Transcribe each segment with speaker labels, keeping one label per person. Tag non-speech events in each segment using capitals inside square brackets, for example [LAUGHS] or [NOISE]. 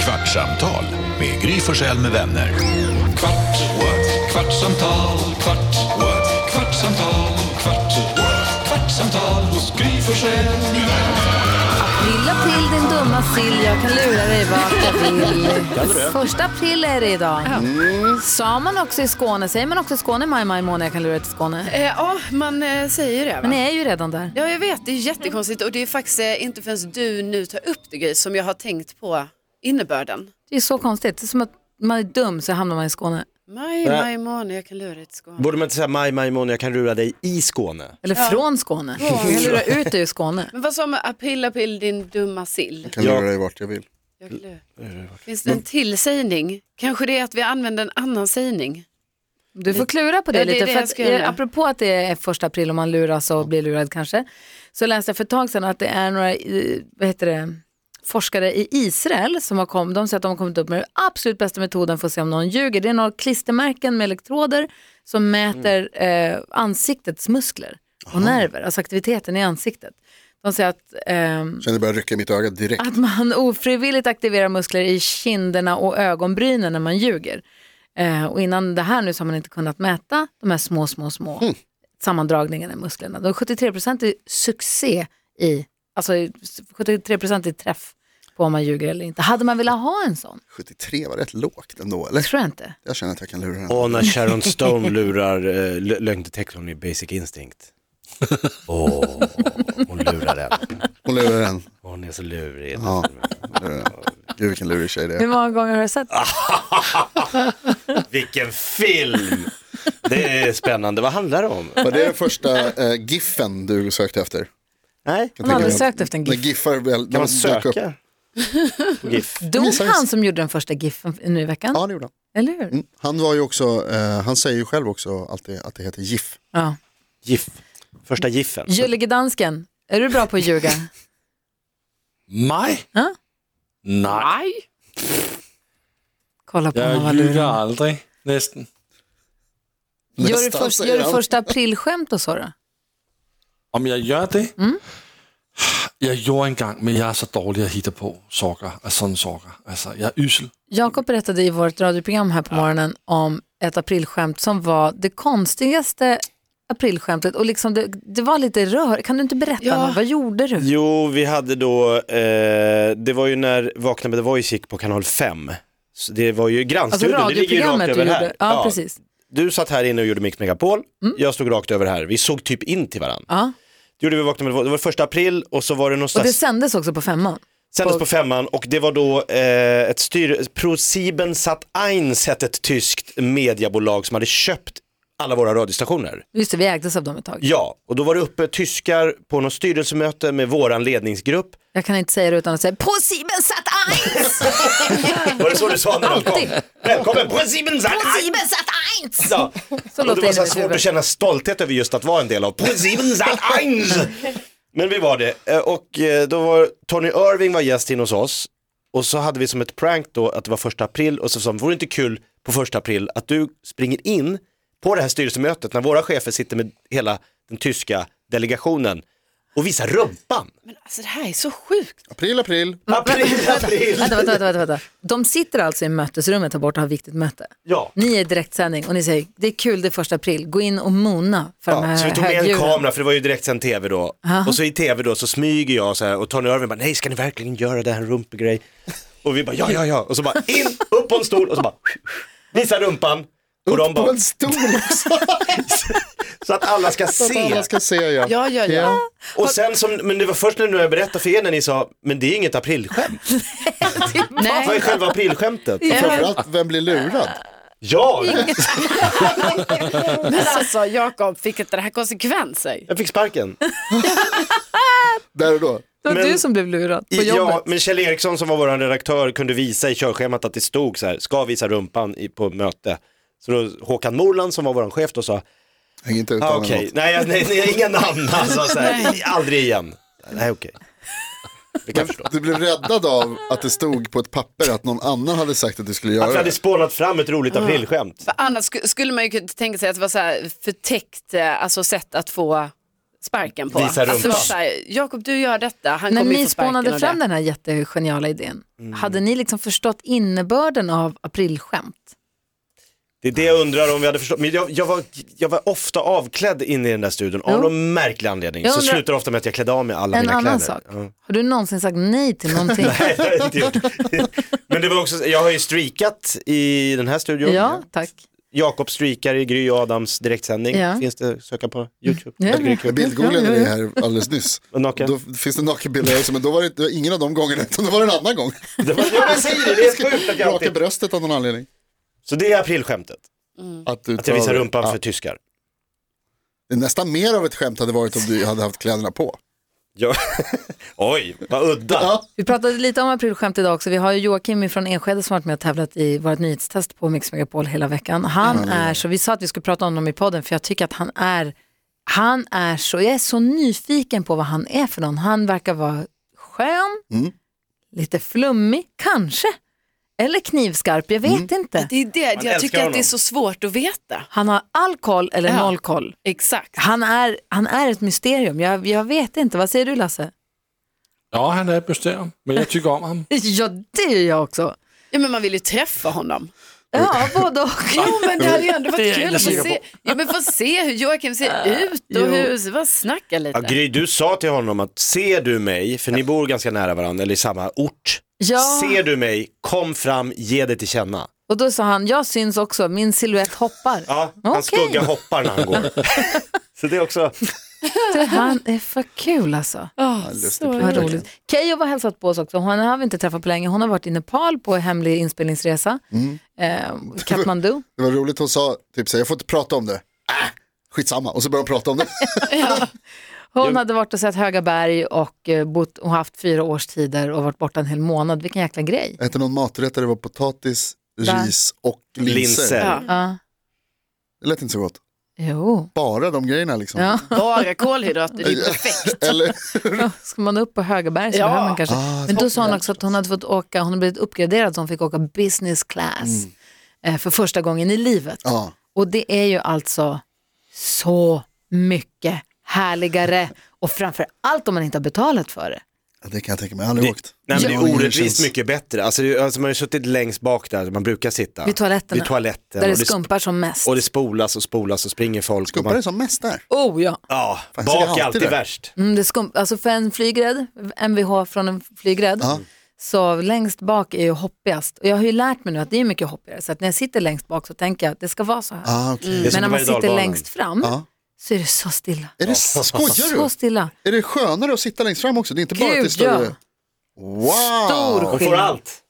Speaker 1: Kvartsamtal med Gry Forssell med vänner.
Speaker 2: Kvart, what? kvartsamtal, kvart, what? kvartsamtal, kvart, what? kvartsamtal hos Gry Forssell med vänner.
Speaker 3: April, april din dumma sill, jag kan lura dig vart jag
Speaker 4: [LAUGHS]
Speaker 3: vill. Första april är det idag.
Speaker 4: Mm.
Speaker 3: Sa man också i Skåne, säger man också i Skåne maj, maj månad, jag kan lura dig till Skåne?
Speaker 5: Eh, ja, man eh, säger det. Va?
Speaker 3: Men ni är ju redan där.
Speaker 5: Ja, jag vet. Det är jättekonstigt och det är faktiskt eh, inte förrän du nu tar upp det Gry som jag har tänkt på innebörden.
Speaker 3: Det är så konstigt, det är som att man är dum så hamnar man i Skåne.
Speaker 5: Maj,
Speaker 6: Nej.
Speaker 5: maj, måne, jag kan lura dig till Skåne.
Speaker 6: Borde man inte säga maj, maj, måne, jag kan lura dig i Skåne?
Speaker 3: Eller från Skåne. Jag lurar ut dig ur Skåne.
Speaker 5: Men vad sa man? April, april, din dumma sill.
Speaker 7: kan Eh,
Speaker 6: Ja.
Speaker 7: lura dig vart jag vill.
Speaker 5: Jag kan lura. Finns det en till sägning? Kanske det är att vi använder en annan sägning.
Speaker 3: Du får klura på det
Speaker 5: Ja, det är
Speaker 3: lite.
Speaker 5: det
Speaker 3: för
Speaker 5: jag
Speaker 3: att,
Speaker 5: ska göra.
Speaker 3: eh, apropå att det är första april och man luras och blir lurad kanske. Så läste jag för ett tag sedan att det är några eh, vad heter det, forskare i Israel som har kommit, de säger att de har kommit upp med den absolut bästa metoden för att se om någon ljuger. Det är några klistermärken med elektroder som mäter eh, ansiktets muskler och nerver, alltså aktiviteten i ansiktet. De säger att ehm,
Speaker 7: Känner börjar rycka i mitt öga direkt.
Speaker 3: att man ofrivilligt aktiverar muskler i kinderna och ögonbrynen när man ljuger. Eh, och innan det här nu så har man inte kunnat mäta de här små, små, små sammandragningarna i musklerna. De 73% är succé i, alltså 73% i träff på om man ljuger eller inte. Hade man velat ha en sån?
Speaker 7: 73 var rätt lågt ändå, eller?
Speaker 3: Tror jag inte.
Speaker 7: Jag känner att jag kan lura den.
Speaker 6: Och när Sharon Stone lurar eh, lö- lögndetektorn i Basic
Speaker 7: [LAUGHS]
Speaker 6: Instinct. Åh, hon lurar den.
Speaker 7: Hon lurar den.
Speaker 6: Hon är så lurig.
Speaker 7: Ja, hon lurar den. Gud vilken lurig tjej det
Speaker 3: Hur
Speaker 7: är.
Speaker 3: många gånger har du sett?
Speaker 6: Vilken film! Det är spännande. Vad handlar det om?
Speaker 7: Var det den första eh, giffen du sökte efter?
Speaker 6: Nej,
Speaker 3: Hon har
Speaker 7: tänker
Speaker 3: aldrig
Speaker 7: mig att-
Speaker 3: sökt efter en
Speaker 7: När
Speaker 3: GIF.
Speaker 7: giffar väl när
Speaker 6: kan man
Speaker 7: de dök upp.
Speaker 6: söka? på GIF.
Speaker 3: Dog han som gjorde den första GIFen nu i veckan?
Speaker 7: Ja, det gjorde han.
Speaker 3: Eller hur?
Speaker 7: Mm. Han var ju också, eh, han säger ju själv också alltid att det heter GIF.
Speaker 3: Ja.
Speaker 6: GIF. Första GIFen.
Speaker 3: Gyllegedansken, är du bra på att ljuga?
Speaker 4: Mig?
Speaker 3: Ja.
Speaker 4: Nej,
Speaker 3: Kolla på honom,
Speaker 4: jag
Speaker 3: vad lurig
Speaker 4: ljuger
Speaker 3: han är.
Speaker 4: aldrig, nästan.
Speaker 3: Gör du,
Speaker 7: Nästan,
Speaker 3: först,
Speaker 7: säger
Speaker 3: gör du
Speaker 7: han.
Speaker 3: första aprilskämt och så då?
Speaker 4: Om jag gör det? Jag gjorde en gång, men jag är så dålig att hitta på saker, alltså sådana saker. Alltså, jag är usel.
Speaker 3: Jakob berättade i vårt radioprogram här på morgonen om ett aprilskämt som var det konstigaste aprilskämtet och liksom det, det var lite rör. Kan du inte berätta
Speaker 5: Ja.
Speaker 3: något? Vad gjorde du?
Speaker 6: Jo, vi hade då, eh, det var ju när Vakna med The Voice gick på kanal 5. Så det var ju
Speaker 3: Alltså
Speaker 6: grannstudion, det ligger ju
Speaker 3: radioprogrammet
Speaker 6: rakt
Speaker 3: du
Speaker 6: över
Speaker 3: gjorde.
Speaker 6: här.
Speaker 3: Ja, precis.
Speaker 6: Du satt här inne och gjorde Mix Megapol,
Speaker 3: Mm.
Speaker 6: jag stod rakt över här. Vi såg typ in till varandra.
Speaker 3: Ja.
Speaker 6: Det gjorde vi Vakna med The Voice, det var första april och så var det
Speaker 3: Och det
Speaker 6: någonstans,
Speaker 3: sändes också på femman.
Speaker 6: sändes på femman och det var då eh, ett styr, ProSieben Sat Eins hette ett tyskt mediebolag som hade köpt alla våra radiostationer.
Speaker 3: Just det, vi ägdes av dem ett tag.
Speaker 6: Ja, och då var det uppe tyskar på något styrelsemöte med våran ledningsgrupp
Speaker 3: Jag kan inte säga det utan att säga på Sieben satt
Speaker 6: [LAUGHS]
Speaker 3: eins!
Speaker 6: Var det så du sa när de kom?
Speaker 3: Alltid.
Speaker 6: Välkommen, Prinsipen Zack!
Speaker 3: På Sieben satt eins!
Speaker 6: Ja.
Speaker 3: Så
Speaker 6: Och det
Speaker 3: låter
Speaker 6: var
Speaker 3: det i
Speaker 6: så här
Speaker 3: mitt
Speaker 6: svårt
Speaker 3: huvud.
Speaker 6: att känna stolthet över just att vara en del av Prinsipen Zack
Speaker 3: [LAUGHS]
Speaker 6: Eins. Men vi var det. Eh, Och eh, då var Tony Irving var gäst in hos oss. Och så hade vi som ett prank då att det var första april och så sa de, vore det inte kul på första april att du springer in på det här styrelsemötet när våra chefer sitter med hela den tyska delegationen och visar rumpan.
Speaker 5: Men alltså det här är så sjukt.
Speaker 7: April, april.
Speaker 6: April, april!
Speaker 3: Vänta, vänta, vänta, vänta, vänta. De sitter alltså i mötesrummet här borta och har viktigt möte.
Speaker 6: Ja.
Speaker 3: Ni är i direktsändning och ni säger det är kul det är första april, gå in och mona för de
Speaker 6: Ja,
Speaker 3: här
Speaker 6: så vi tog med en
Speaker 3: högdjuren."
Speaker 6: kamera för det var ju direkt sen tv då. Och så i tv då så smyger jag så här och Tony Irving bara nej ska ni verkligen göra det här rumpgrej? Och vi bara ja ja ja och så bara in, upp på en stol och så bara visa rumpan. Och de
Speaker 7: Upp på
Speaker 6: bara,
Speaker 7: en stol också.
Speaker 6: så att alla ska
Speaker 7: [LAUGHS]
Speaker 6: se.
Speaker 7: Alla ska se ja.
Speaker 5: Ja, ja, ja.
Speaker 6: Och sen som, men det var först nu när jag berättade för er när ni sa, men det är inget aprilskämt. Vad är
Speaker 3: Nej,
Speaker 6: själva aprilskämtet?
Speaker 7: Framförallt, vem blir lurad?
Speaker 6: Ja,
Speaker 5: Men alltså Jakob, fick inte det här konsekvenser?
Speaker 6: jag fick sparken.
Speaker 7: Där och då.
Speaker 3: det var
Speaker 6: Men-
Speaker 3: du som blev lurad på jobbet.
Speaker 6: Ja, men Kjell Eriksson som var vår redaktör kunde visa i körschemat att det stod så här, ska visa rumpan i, på möte. Så då Håkan Morland som var vår chef då sa,
Speaker 7: Häng inte ut
Speaker 6: ah,
Speaker 7: honom.
Speaker 6: okej, nej, jag- nej, nej, inga
Speaker 7: [LAUGHS]
Speaker 6: namn alltså, så här, aldrig igen. Nej okej, det kan jag förstå.
Speaker 7: Du blev räddad av att det stod på ett papper att någon annan hade sagt att du skulle
Speaker 6: Att vi
Speaker 7: göra
Speaker 6: hade
Speaker 7: det.
Speaker 6: spånat fram ett
Speaker 7: Ah.
Speaker 6: roligt aprilskämt.
Speaker 5: För annars sku- skulle man ju kunna tänka sig att det var så här förtäckt eh, alltså, sätt att få sparken på.
Speaker 6: Visa rumpan.
Speaker 5: så här, Jakob du gör detta, han
Speaker 3: När
Speaker 5: kommer ju
Speaker 3: ni
Speaker 5: få sparken
Speaker 3: spånade
Speaker 5: av
Speaker 3: fram
Speaker 5: det. Mm.
Speaker 3: den här jättegeniala idén, hade ni liksom förstått innebörden av aprilskämt?
Speaker 6: Det är det jag undrar om vi hade förstått. Men jag, jag, var, jag var ofta avklädd inne i den där studion
Speaker 3: Jo.
Speaker 6: av någon märklig anledning.
Speaker 3: Jag
Speaker 6: så
Speaker 3: undrar-
Speaker 6: slutar det ofta med att jag klädde av mig alla
Speaker 3: En
Speaker 6: mina
Speaker 3: annan
Speaker 6: kläder.
Speaker 3: sak, har du någonsin sagt nej till
Speaker 5: [LAUGHS]
Speaker 3: någonting?
Speaker 6: [LAUGHS] Nej, det har jag
Speaker 3: [LAUGHS]
Speaker 6: inte gjort. Men det var också, jag har ju streakat i den här studion.
Speaker 3: ja, tack.
Speaker 6: Jakob streakar i Gry och Adams direktsändning.
Speaker 3: Ja.
Speaker 6: Finns det att söka på YouTube?
Speaker 3: Ja.
Speaker 6: Eller Gry
Speaker 7: Jag
Speaker 6: Kul.
Speaker 7: bildgooglade
Speaker 6: [LAUGHS]
Speaker 7: det här alldeles nyss.
Speaker 6: Och naken.
Speaker 7: Då finns det nakenbilder också, men då var det, det var ingen av de gångerna, utan då var det en annan gång.
Speaker 6: Det var- [LAUGHS] Ja, men säg det, det är sjukt att jag
Speaker 7: Raka
Speaker 6: alltid...
Speaker 7: bröstet av någon anledning.
Speaker 6: Så det är aprilskämtet.
Speaker 7: Att, du
Speaker 6: Att jag visar
Speaker 7: tar-
Speaker 6: rumpan
Speaker 7: Ja.
Speaker 6: för tyskar.
Speaker 7: Det Nästan mer av ett skämt hade varit om du hade haft kläderna på.
Speaker 6: Ja. [LAUGHS] Oj, vad udda.
Speaker 7: Ja.
Speaker 3: Vi pratade lite om aprilskämt idag också. Vi har ju Joakim från Enskede som varit med och tävlat i vårt nyhetstest på Mix Megapol hela veckan. Han är så, vi sa att vi skulle prata om honom i podden för jag tycker att han är, han är så, jag är så nyfiken på vad han är för någon. Han verkar vara skön, lite flummig, kanske. Eller knivskarp, jag vet inte.
Speaker 5: Det är det,
Speaker 6: Man
Speaker 5: jag
Speaker 6: älskar
Speaker 5: tycker att det
Speaker 6: honom.
Speaker 5: är så svårt att veta.
Speaker 3: Han har all koll eller
Speaker 5: Ja.
Speaker 3: noll koll.
Speaker 5: Exakt.
Speaker 3: Han är, han är ett mysterium, jag, jag vet inte. Vad säger du Lasse?
Speaker 4: Ja, han är ett mysterium, men jag tycker om honom.
Speaker 3: Ja, det gör jag också.
Speaker 5: Ja men man vill ju träffa honom.
Speaker 3: Ja, både och.
Speaker 5: Jo men det hade ju ändå
Speaker 4: Det är
Speaker 5: varit
Speaker 4: jag
Speaker 5: kul
Speaker 4: inte
Speaker 5: att få
Speaker 4: säker
Speaker 5: se, ja, men få se hur Joakim ser ut
Speaker 3: Jo.
Speaker 5: och hur, vad snacka
Speaker 6: Ja,
Speaker 5: lite.
Speaker 6: Gry, du sa till honom att ser du mig, för ni bor ganska nära varandra, eller i samma ort.
Speaker 3: Ja.
Speaker 6: Ser du mig, kom fram, ge dig till känna.
Speaker 3: Och då sa han, jag syns också, min silhuett hoppar.
Speaker 6: Ja, hans
Speaker 3: Okej.
Speaker 6: skugga hoppar när han går. [LAUGHS] Så det är också,
Speaker 3: Du, Han är för kul alltså.
Speaker 5: Åh, så
Speaker 3: Vad
Speaker 5: roligt.
Speaker 3: roligt. Keyyo har hälsat på oss också, hon har vi inte träffat på länge. Hon har varit i Nepal på hemlig inspelningsresa, eh, Kathmandu.
Speaker 7: Det var roligt, hon sa typ så här, jag får inte prata om det. Äh, skitsamma, och så började hon prata om det.
Speaker 3: Hon hade varit och sett höga berg och, eh, bott, och haft fyra årstider och varit borta en hel månad. Vilken jäkla grej.
Speaker 7: Hette någon maträtt där det var potatis,
Speaker 3: Va?
Speaker 7: ris och linser.
Speaker 6: Linser.
Speaker 5: Ja.
Speaker 3: Ja.
Speaker 7: Det lät inte så gott.
Speaker 3: Jo,
Speaker 7: Bara de grejerna liksom.
Speaker 3: Ja.
Speaker 5: Bara kolhydrater, det är perfekt.
Speaker 7: [LAUGHS] Eller,
Speaker 3: ska man upp på höga berg så
Speaker 5: Ja.
Speaker 3: behöver man kanske.
Speaker 7: Ah,
Speaker 3: Men då sa hon också att hon hade fått åka, hon hade blivit uppgraderad så hon fick åka business class eh, för första gången i livet.
Speaker 7: ja.
Speaker 3: Och det är ju alltså så mycket härligare och framför allt om man inte har betalat för det.
Speaker 7: Ja, det kan jag tänka mig, jag har aldrig åkt.
Speaker 6: nej, men det
Speaker 7: Ja.
Speaker 6: är orättvist
Speaker 7: Känns-
Speaker 6: mycket bättre. Alltså, det, alltså, man har ju suttit längst bak där man brukar sitta.
Speaker 3: Vid toaletterna.
Speaker 6: Vid toaletten.
Speaker 3: Där det
Speaker 6: och, det
Speaker 3: skumpar som mest.
Speaker 6: och det spolas och spolas och springer folk.
Speaker 7: Guppar
Speaker 6: och
Speaker 7: är
Speaker 6: man,
Speaker 7: som mest där.
Speaker 3: Oh ja,
Speaker 6: ja,
Speaker 7: Fan, så är
Speaker 6: bak
Speaker 7: det
Speaker 6: är
Speaker 7: alltid
Speaker 6: alltid
Speaker 7: där.
Speaker 6: värst.
Speaker 3: mm, det skum... alltså för en flygrädd, MVH från en flygrädd, så längst bak är ju hoppigast. Och jag har ju lärt mig nu att det är mycket hoppigare, så att när jag sitter längst bak så tänker jag att det ska vara så här.
Speaker 7: Ah, okej.
Speaker 6: Det är
Speaker 3: Men när
Speaker 6: som på
Speaker 3: man
Speaker 6: berg- och
Speaker 3: sitter
Speaker 6: dalbanan.
Speaker 3: längst fram
Speaker 7: Ja.
Speaker 3: så är det så stilla.
Speaker 7: Är det, skojar
Speaker 3: Så
Speaker 7: du?
Speaker 3: stilla.
Speaker 7: Är det skönare att sitta längst fram också? Det är inte bara att det är
Speaker 3: Gud ja.
Speaker 7: större. Wow!
Speaker 3: Stor
Speaker 6: De Ah, får
Speaker 3: skillnad.
Speaker 6: allt.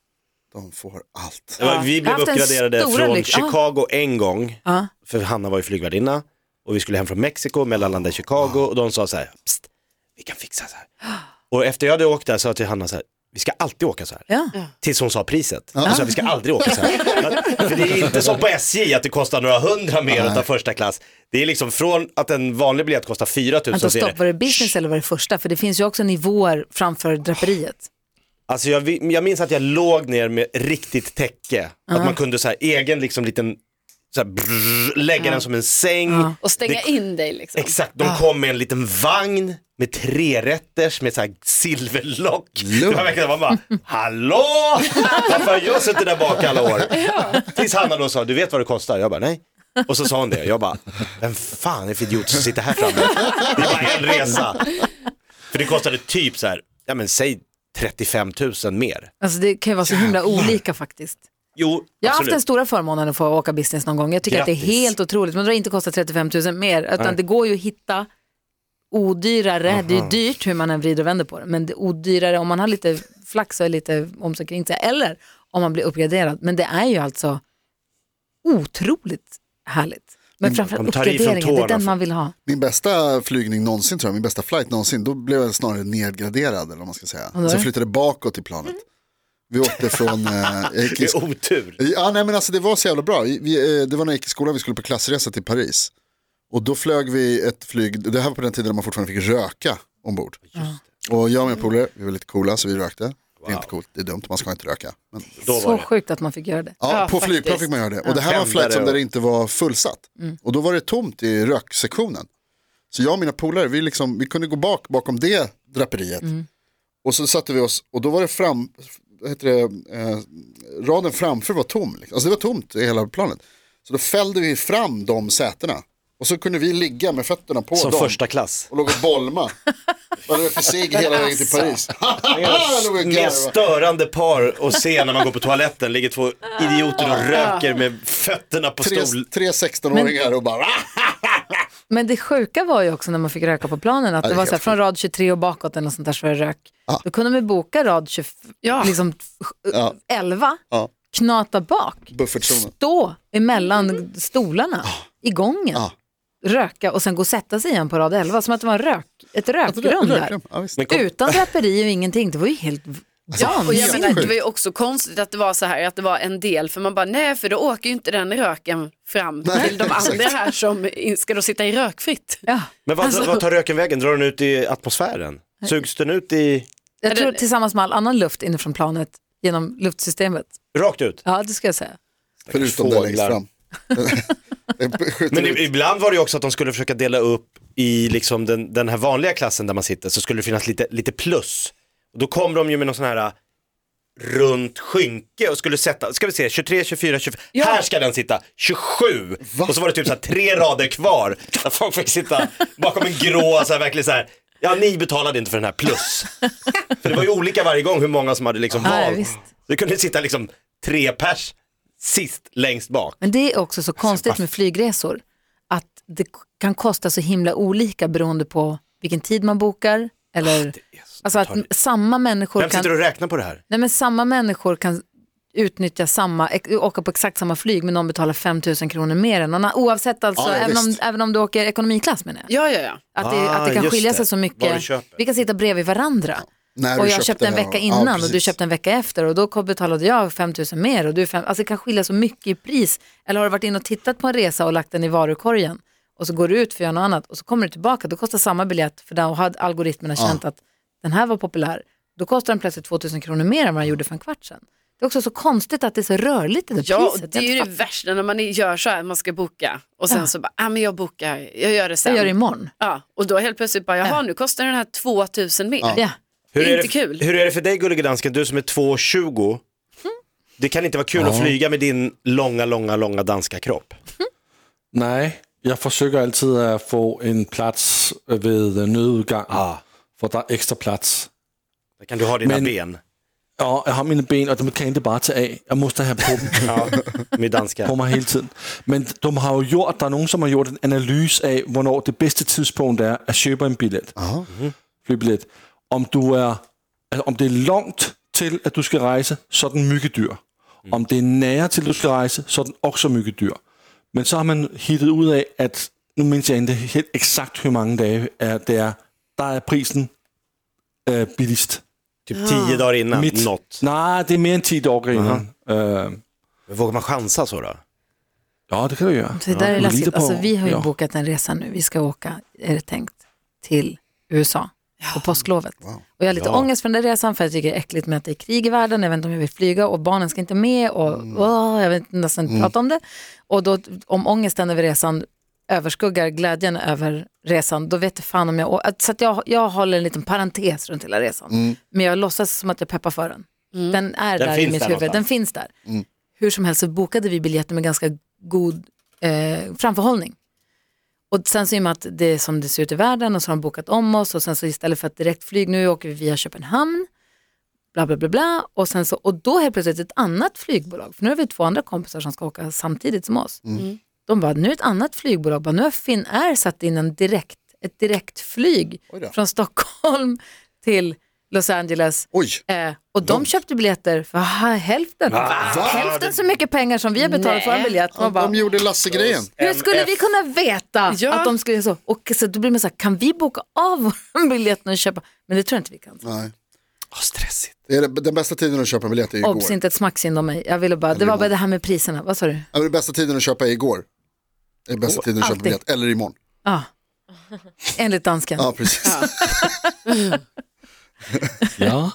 Speaker 7: De får allt.
Speaker 6: Det var- Vi
Speaker 3: Jag
Speaker 6: blev
Speaker 3: har haft en
Speaker 6: uppgraderade
Speaker 3: stora
Speaker 6: från
Speaker 3: lyx- Ah.
Speaker 6: Chicago en gång,
Speaker 3: Ja.
Speaker 6: för Hanna var ju flygvärdinna, och vi skulle hem från Mexiko, mellanlandade i Chicago, och de sa så här, Psst, vi kan fixa så här. Och efter jag hade åkt där sa jag till Hanna så här, vi ska alltid åka så här.
Speaker 3: Ja.
Speaker 6: Tills hon sa priset. Då sa jag, vi ska aldrig åka
Speaker 3: [LAUGHS]
Speaker 6: så här. Att- För det är inte som på SJ att det kostar några hundra mer att ta första klass. Det är liksom från att en vanlig biljett kostar 4 000
Speaker 3: Vänta,
Speaker 6: så är det
Speaker 3: stopp, var det business eller var det första? För det finns ju också nivåer framför draperiet.
Speaker 6: Alltså jag, vi- jag minns att jag låg ner med riktigt täcke. Att man kunde så här egen liksom liten, så här brrr, lägga den som en säng.
Speaker 5: Och stänga
Speaker 6: Det-
Speaker 5: in dig liksom.
Speaker 6: Exakt, de kom med en liten vagn med trerätters med så här silverlock. Det var verkligen, man bara, hallå! Varför har jag suttit där bak alla år? Tills Hanna då sa, du vet vad det kostar? Jag bara, nej. Och så sa hon det, jag bara, vem fan är det för idiot som sitter här framme? Det är bara en resa. För det kostade typ så här, ja men säg 35 000 mer.
Speaker 3: Alltså det kan ju vara så himla olika faktiskt.
Speaker 6: Jo,
Speaker 3: Jag har haft
Speaker 6: absolut.
Speaker 3: den stora förmånen att få åka business någon gång. Jag tycker att det är
Speaker 6: Grattis.
Speaker 3: helt otroligt, men det har inte kostat 35 000 mer. Utan det går ju att hitta odyrare, det är ju dyrt hur man än vrider och vänder på det, men det är odyrare om man har lite flax och lite om sig kring sig, eller om man blir uppgraderad. Men det är ju alltså otroligt härligt. Men framförallt
Speaker 6: de tar i från
Speaker 3: uppgraderingen, det är
Speaker 6: tårna
Speaker 3: den
Speaker 6: för-
Speaker 3: man vill ha.
Speaker 7: Min bästa flygning någonsin tror jag, min bästa flight någonsin, då blev jag snarare nedgraderad eller vad man ska säga.
Speaker 3: då?
Speaker 7: Så jag flyttade bakåt i planet. Vi åkte från, eh, jag gick i
Speaker 6: Det är otur.
Speaker 7: Ja, nej, men alltså, det var så jävla bra. Vi, eh, det var när jag gick i skolan, vi skulle på klassresa till Paris. Och då flög vi ett flyg, det här var på den tiden när man fortfarande fick röka ombord. Och jag och min polare, vi var lite coola så vi rökte. Det är inte coolt, det är dumt, man ska inte röka. Men,
Speaker 6: Då var
Speaker 3: Så
Speaker 6: det.
Speaker 3: sjukt att man fick göra det.
Speaker 7: ja,
Speaker 5: Ja, Mm.
Speaker 7: på
Speaker 5: faktiskt.
Speaker 7: flygplan fick man göra det. Och det här var en
Speaker 6: Tändare
Speaker 7: flight som där
Speaker 6: och-
Speaker 7: det inte var fullsatt. Och då var det tomt i röksektionen. Så jag och mina polare, vi, liksom, vi kunde gå bak bakom det draperiet.
Speaker 5: Mm.
Speaker 7: Och så satte vi oss, och då var det fram, vad heter det, eh, raden framför var tom. Liksom. Alltså det var tomt i hela planet. Så då fällde vi fram de sätena. Och så kunde vi ligga med fötterna på
Speaker 6: Som
Speaker 7: dem.
Speaker 6: första klass.
Speaker 7: Och låg och
Speaker 5: [LAUGHS]
Speaker 7: bolma. Och rökte cigg hela vägen till Paris. Jag [LAUGHS] låg och
Speaker 6: Mer
Speaker 7: garvade.
Speaker 6: störande par att se när man går på toaletten. Ligger två idioter och röker med fötterna på
Speaker 7: Tre,
Speaker 6: stol.
Speaker 7: tre 16-åringar och bara [LAUGHS]
Speaker 3: Men det sjuka var ju också när man fick röka på planen att
Speaker 7: det
Speaker 3: det
Speaker 7: är
Speaker 3: var så här,
Speaker 7: helt
Speaker 3: från rad 23 och bakåt eller något sånt där så var det rök. Då kunde man ju boka rad 20,
Speaker 5: Ja.
Speaker 3: liksom, f- 11,
Speaker 7: Ja.
Speaker 3: knata bak,
Speaker 7: buffertzonen.
Speaker 3: stå
Speaker 5: Mm.
Speaker 3: emellan stolarna i gången, röka och sen gå och sätta sig igen på rad 11. Som att det var en rök, ett rökrum där.
Speaker 7: Ja, visst.
Speaker 6: kom-
Speaker 3: Utan draperi och ingenting, det var ju helt
Speaker 5: Och
Speaker 3: vansinnigt.
Speaker 5: jag menar, det var ju också konstigt att det var så här, att det var en del, för man bara nej, för då åker ju inte den röken fram
Speaker 7: Nej,
Speaker 5: till de
Speaker 7: exakt.
Speaker 5: andra här som in- ska då sitta i rökfritt.
Speaker 3: Ja.
Speaker 6: Men
Speaker 3: Alltså-
Speaker 6: vad, vad tar röken vägen? Drar den ut i atmosfären? Sugs den ut i,
Speaker 3: Jag tror tillsammans med all annan luft inifrån planet genom luftsystemet.
Speaker 6: rakt ut?
Speaker 3: Ja, det ska jag säga.
Speaker 7: Förutom den längst
Speaker 6: fåglar.
Speaker 7: fram. Den
Speaker 6: [LAUGHS]
Speaker 7: skjuter
Speaker 6: Men
Speaker 7: ut.
Speaker 6: i- ibland var det ju också att de skulle försöka dela upp i liksom den, den här vanliga klassen där man sitter så skulle det finnas lite, lite plus. Och då kom de ju med någon sån här äh, runt skynke och skulle sätta, ska vi se, 23, 24, 25, här ska den sitta, 27. Och så var det typ så här tre rader kvar där folk fick sitta bakom en grå, så här, verkligen så här, ja ni betalade inte för den här plus. för det var ju olika varje gång hur många som hade liksom
Speaker 3: Ja,
Speaker 6: valt.
Speaker 3: visst.
Speaker 6: det kunde sitta liksom tre pers sist längst bak.
Speaker 3: Men det är också så konstigt med flygresor. Att det k- kan kosta så himla olika beroende på vilken tid man bokar. Eller, alltså att m- samma människor
Speaker 6: Vem
Speaker 3: kan,
Speaker 6: sitter och räknar på det här?
Speaker 3: nej men samma människor kan utnyttja samma, ex- åka på exakt samma flyg men någon betalar 5 000 kronor mer än någon annan. Oavsett alltså,
Speaker 7: Ja, ja,
Speaker 3: även, om,
Speaker 7: visst.
Speaker 3: även om du åker ekonomiklass menar jag.
Speaker 5: Ja, ja, ja.
Speaker 3: Att det, att det
Speaker 6: Ah,
Speaker 3: kan
Speaker 6: just
Speaker 3: skilja
Speaker 6: det.
Speaker 3: sig så
Speaker 6: Vad du
Speaker 3: mycket.
Speaker 6: köper.
Speaker 3: Vi kan sitta bredvid varandra.
Speaker 7: När
Speaker 3: och
Speaker 7: du
Speaker 3: jag köpte en
Speaker 7: den här-
Speaker 3: vecka
Speaker 7: ja,
Speaker 3: innan och du
Speaker 7: precis.
Speaker 3: köpte en vecka efter och då kom- betalade jag 5 000 mer och du fem, alltså det kan skilja så mycket i pris. Eller har du varit inne och tittat på en resa och lagt den i varukorgen och så går du ut för att göra något annat och så kommer du tillbaka, då kostar samma biljett för då har algoritmerna känt att den här var populär. Då kostar den plötsligt 2 000 kronor mer än vad den gjorde för en kvart sedan. Det är också så konstigt att det är så rörligt det där
Speaker 5: Ja, och
Speaker 3: priset.
Speaker 5: det är ju
Speaker 3: Jag
Speaker 5: det
Speaker 3: fattar-
Speaker 5: värsta när man gör så här, man ska boka och sen så bara, ja men jag bokar, jag gör det sen.
Speaker 3: jag gör det imorgon.
Speaker 5: Ja, och då helt plötsligt bara, jaha nu kostar den här 2000 mer.
Speaker 3: Ja.
Speaker 6: Hur
Speaker 5: Det är
Speaker 6: det-
Speaker 5: inte kul.
Speaker 6: Hur är det för dig gullige dansken, du som är 2,20? Det kan inte vara kul att flyga med din långa, långa, långa danska kropp.
Speaker 4: Nej, jag försöker alltid att få en øh, plats vid nödutgången. För där är extra plats.
Speaker 6: Där kan du ha dina
Speaker 4: Men-
Speaker 6: ben
Speaker 4: Ja, jag har mina ben och de kan inte bara ta av. Jag måste ha på dem.
Speaker 6: med [LAUGHS] danska.
Speaker 4: på mig hele tiden. Men de har jo gjort, der er nogen, som har gjort en analyse af, hvornår det bedste tidspunkt er at købe en billet. Mhm. Flybillet. Om, du er, altså, om det er langt til, at du skal rejse, så er den myggedyr. Om det er nære til, du skal rejse, så er den også myggedyr. Men så har man hittet ud af, at nu mindes jeg ikke helt exakt, hvor mange dage er, det er. Der er prisen øh, billigst.
Speaker 6: Typ tio dagar innan,
Speaker 4: Mitt-
Speaker 6: något.
Speaker 4: Nej, det er mere end 10 dage inden. Øh,
Speaker 6: Men vågar man chansa så då?
Speaker 4: ja, det kan du gøre.
Speaker 3: Så det där
Speaker 4: Ja,
Speaker 3: är
Speaker 4: lite
Speaker 3: läskigt.
Speaker 4: på-
Speaker 3: Alltså, vi har ju
Speaker 4: ja.
Speaker 3: bokat en resa nu. Vi ska åka, är det tänkt, till USA på påsklovet. Och jag har lite ångest för den där resan för jag tycker det är äckligt med att det är krig i världen. Jag vet inte om jag vill flyga och barnen ska inte med och
Speaker 6: Mm.
Speaker 3: åh, jag vill inte- nästan inte prata om det. Och då, om ångesten över resan överskuggar glädjen över resan, då vet jag fan om jag... å- Så att jag, jag håller en liten parentes runt hela resan. Men jag låtsas som att jag peppar för den. Den är
Speaker 6: Mm. Den
Speaker 3: där i
Speaker 6: finns
Speaker 3: mitt
Speaker 6: där
Speaker 3: huvud. Den
Speaker 6: någonstans. Mm.
Speaker 3: finns där. Hur som helst så bokade vi biljetter med ganska god eh, framförhållning. Och sen så i och med att det är som det ser ut i världen och så har de bokat om oss och sen så istället för att direktflyg nu åker vi via Köpenhamn, bla bla bla bla och sen så, och då helt plötsligt ett annat flygbolag, för nu har vi två andra kompisar som ska åka samtidigt som oss. De bara, nu är ett annat flygbolag, bara, nu har Finnair satt in en direkt, ett direktflyg
Speaker 7: då.
Speaker 3: från Stockholm till Los Angeles
Speaker 7: Oj,
Speaker 3: Eh, och de köpte biljetter för ha, hälften, hälften så mycket pengar som vi har betalat för en biljett. Man bara,
Speaker 7: de gjorde Lasse-grejen.
Speaker 3: hur skulle vi kunna veta
Speaker 5: Ja.
Speaker 3: att de skulle så? Och så då blir man så här, kan vi boka av vår [LAUGHS] biljett nu och köpa? Men det tror jag inte vi kan.
Speaker 7: Nej.
Speaker 6: Oh, stressigt.
Speaker 7: Det är den bästa tiden att köpa en biljett är igår.
Speaker 3: Obs, inte ett smack synd om mig. Jag ville bara, det var bara det här med priserna. Vad sa du?
Speaker 7: Ja, men Den bästa tiden att köpa är igår. Det är bästa tiden att köpa
Speaker 3: Alltid.
Speaker 7: biljett, eller imorgon.
Speaker 3: Ja, enligt dansken.
Speaker 7: Ja, precis.
Speaker 4: Ja.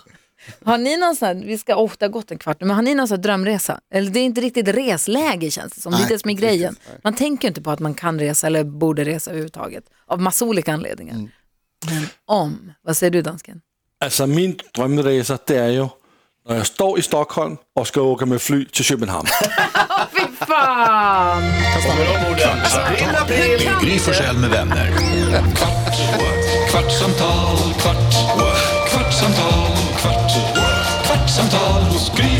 Speaker 3: Har ni någon sån här, vi ska, oh, det har gått en kvart nu, men har ni någon sån här drömresa? Eller det är inte riktigt resläge känns det som, det är
Speaker 7: Nej,
Speaker 3: det som är
Speaker 7: inte riktigt.
Speaker 3: grejen. Man tänker ju inte på att man kan resa eller borde resa överhuvudtaget, av massa olika anledningar.
Speaker 7: Mm.
Speaker 3: Men om, vad säger du dansken?
Speaker 4: Altså min drømmerejser, det er jo, når jeg står i Stockholm og skal åka med fly til København.
Speaker 3: Fy fan!
Speaker 1: Med Gry Forssell med vänner.
Speaker 2: Kvart, what? kvartsamtal, kvart, what? kvartsamtal, kvart, what? kvartsamtal hos Gry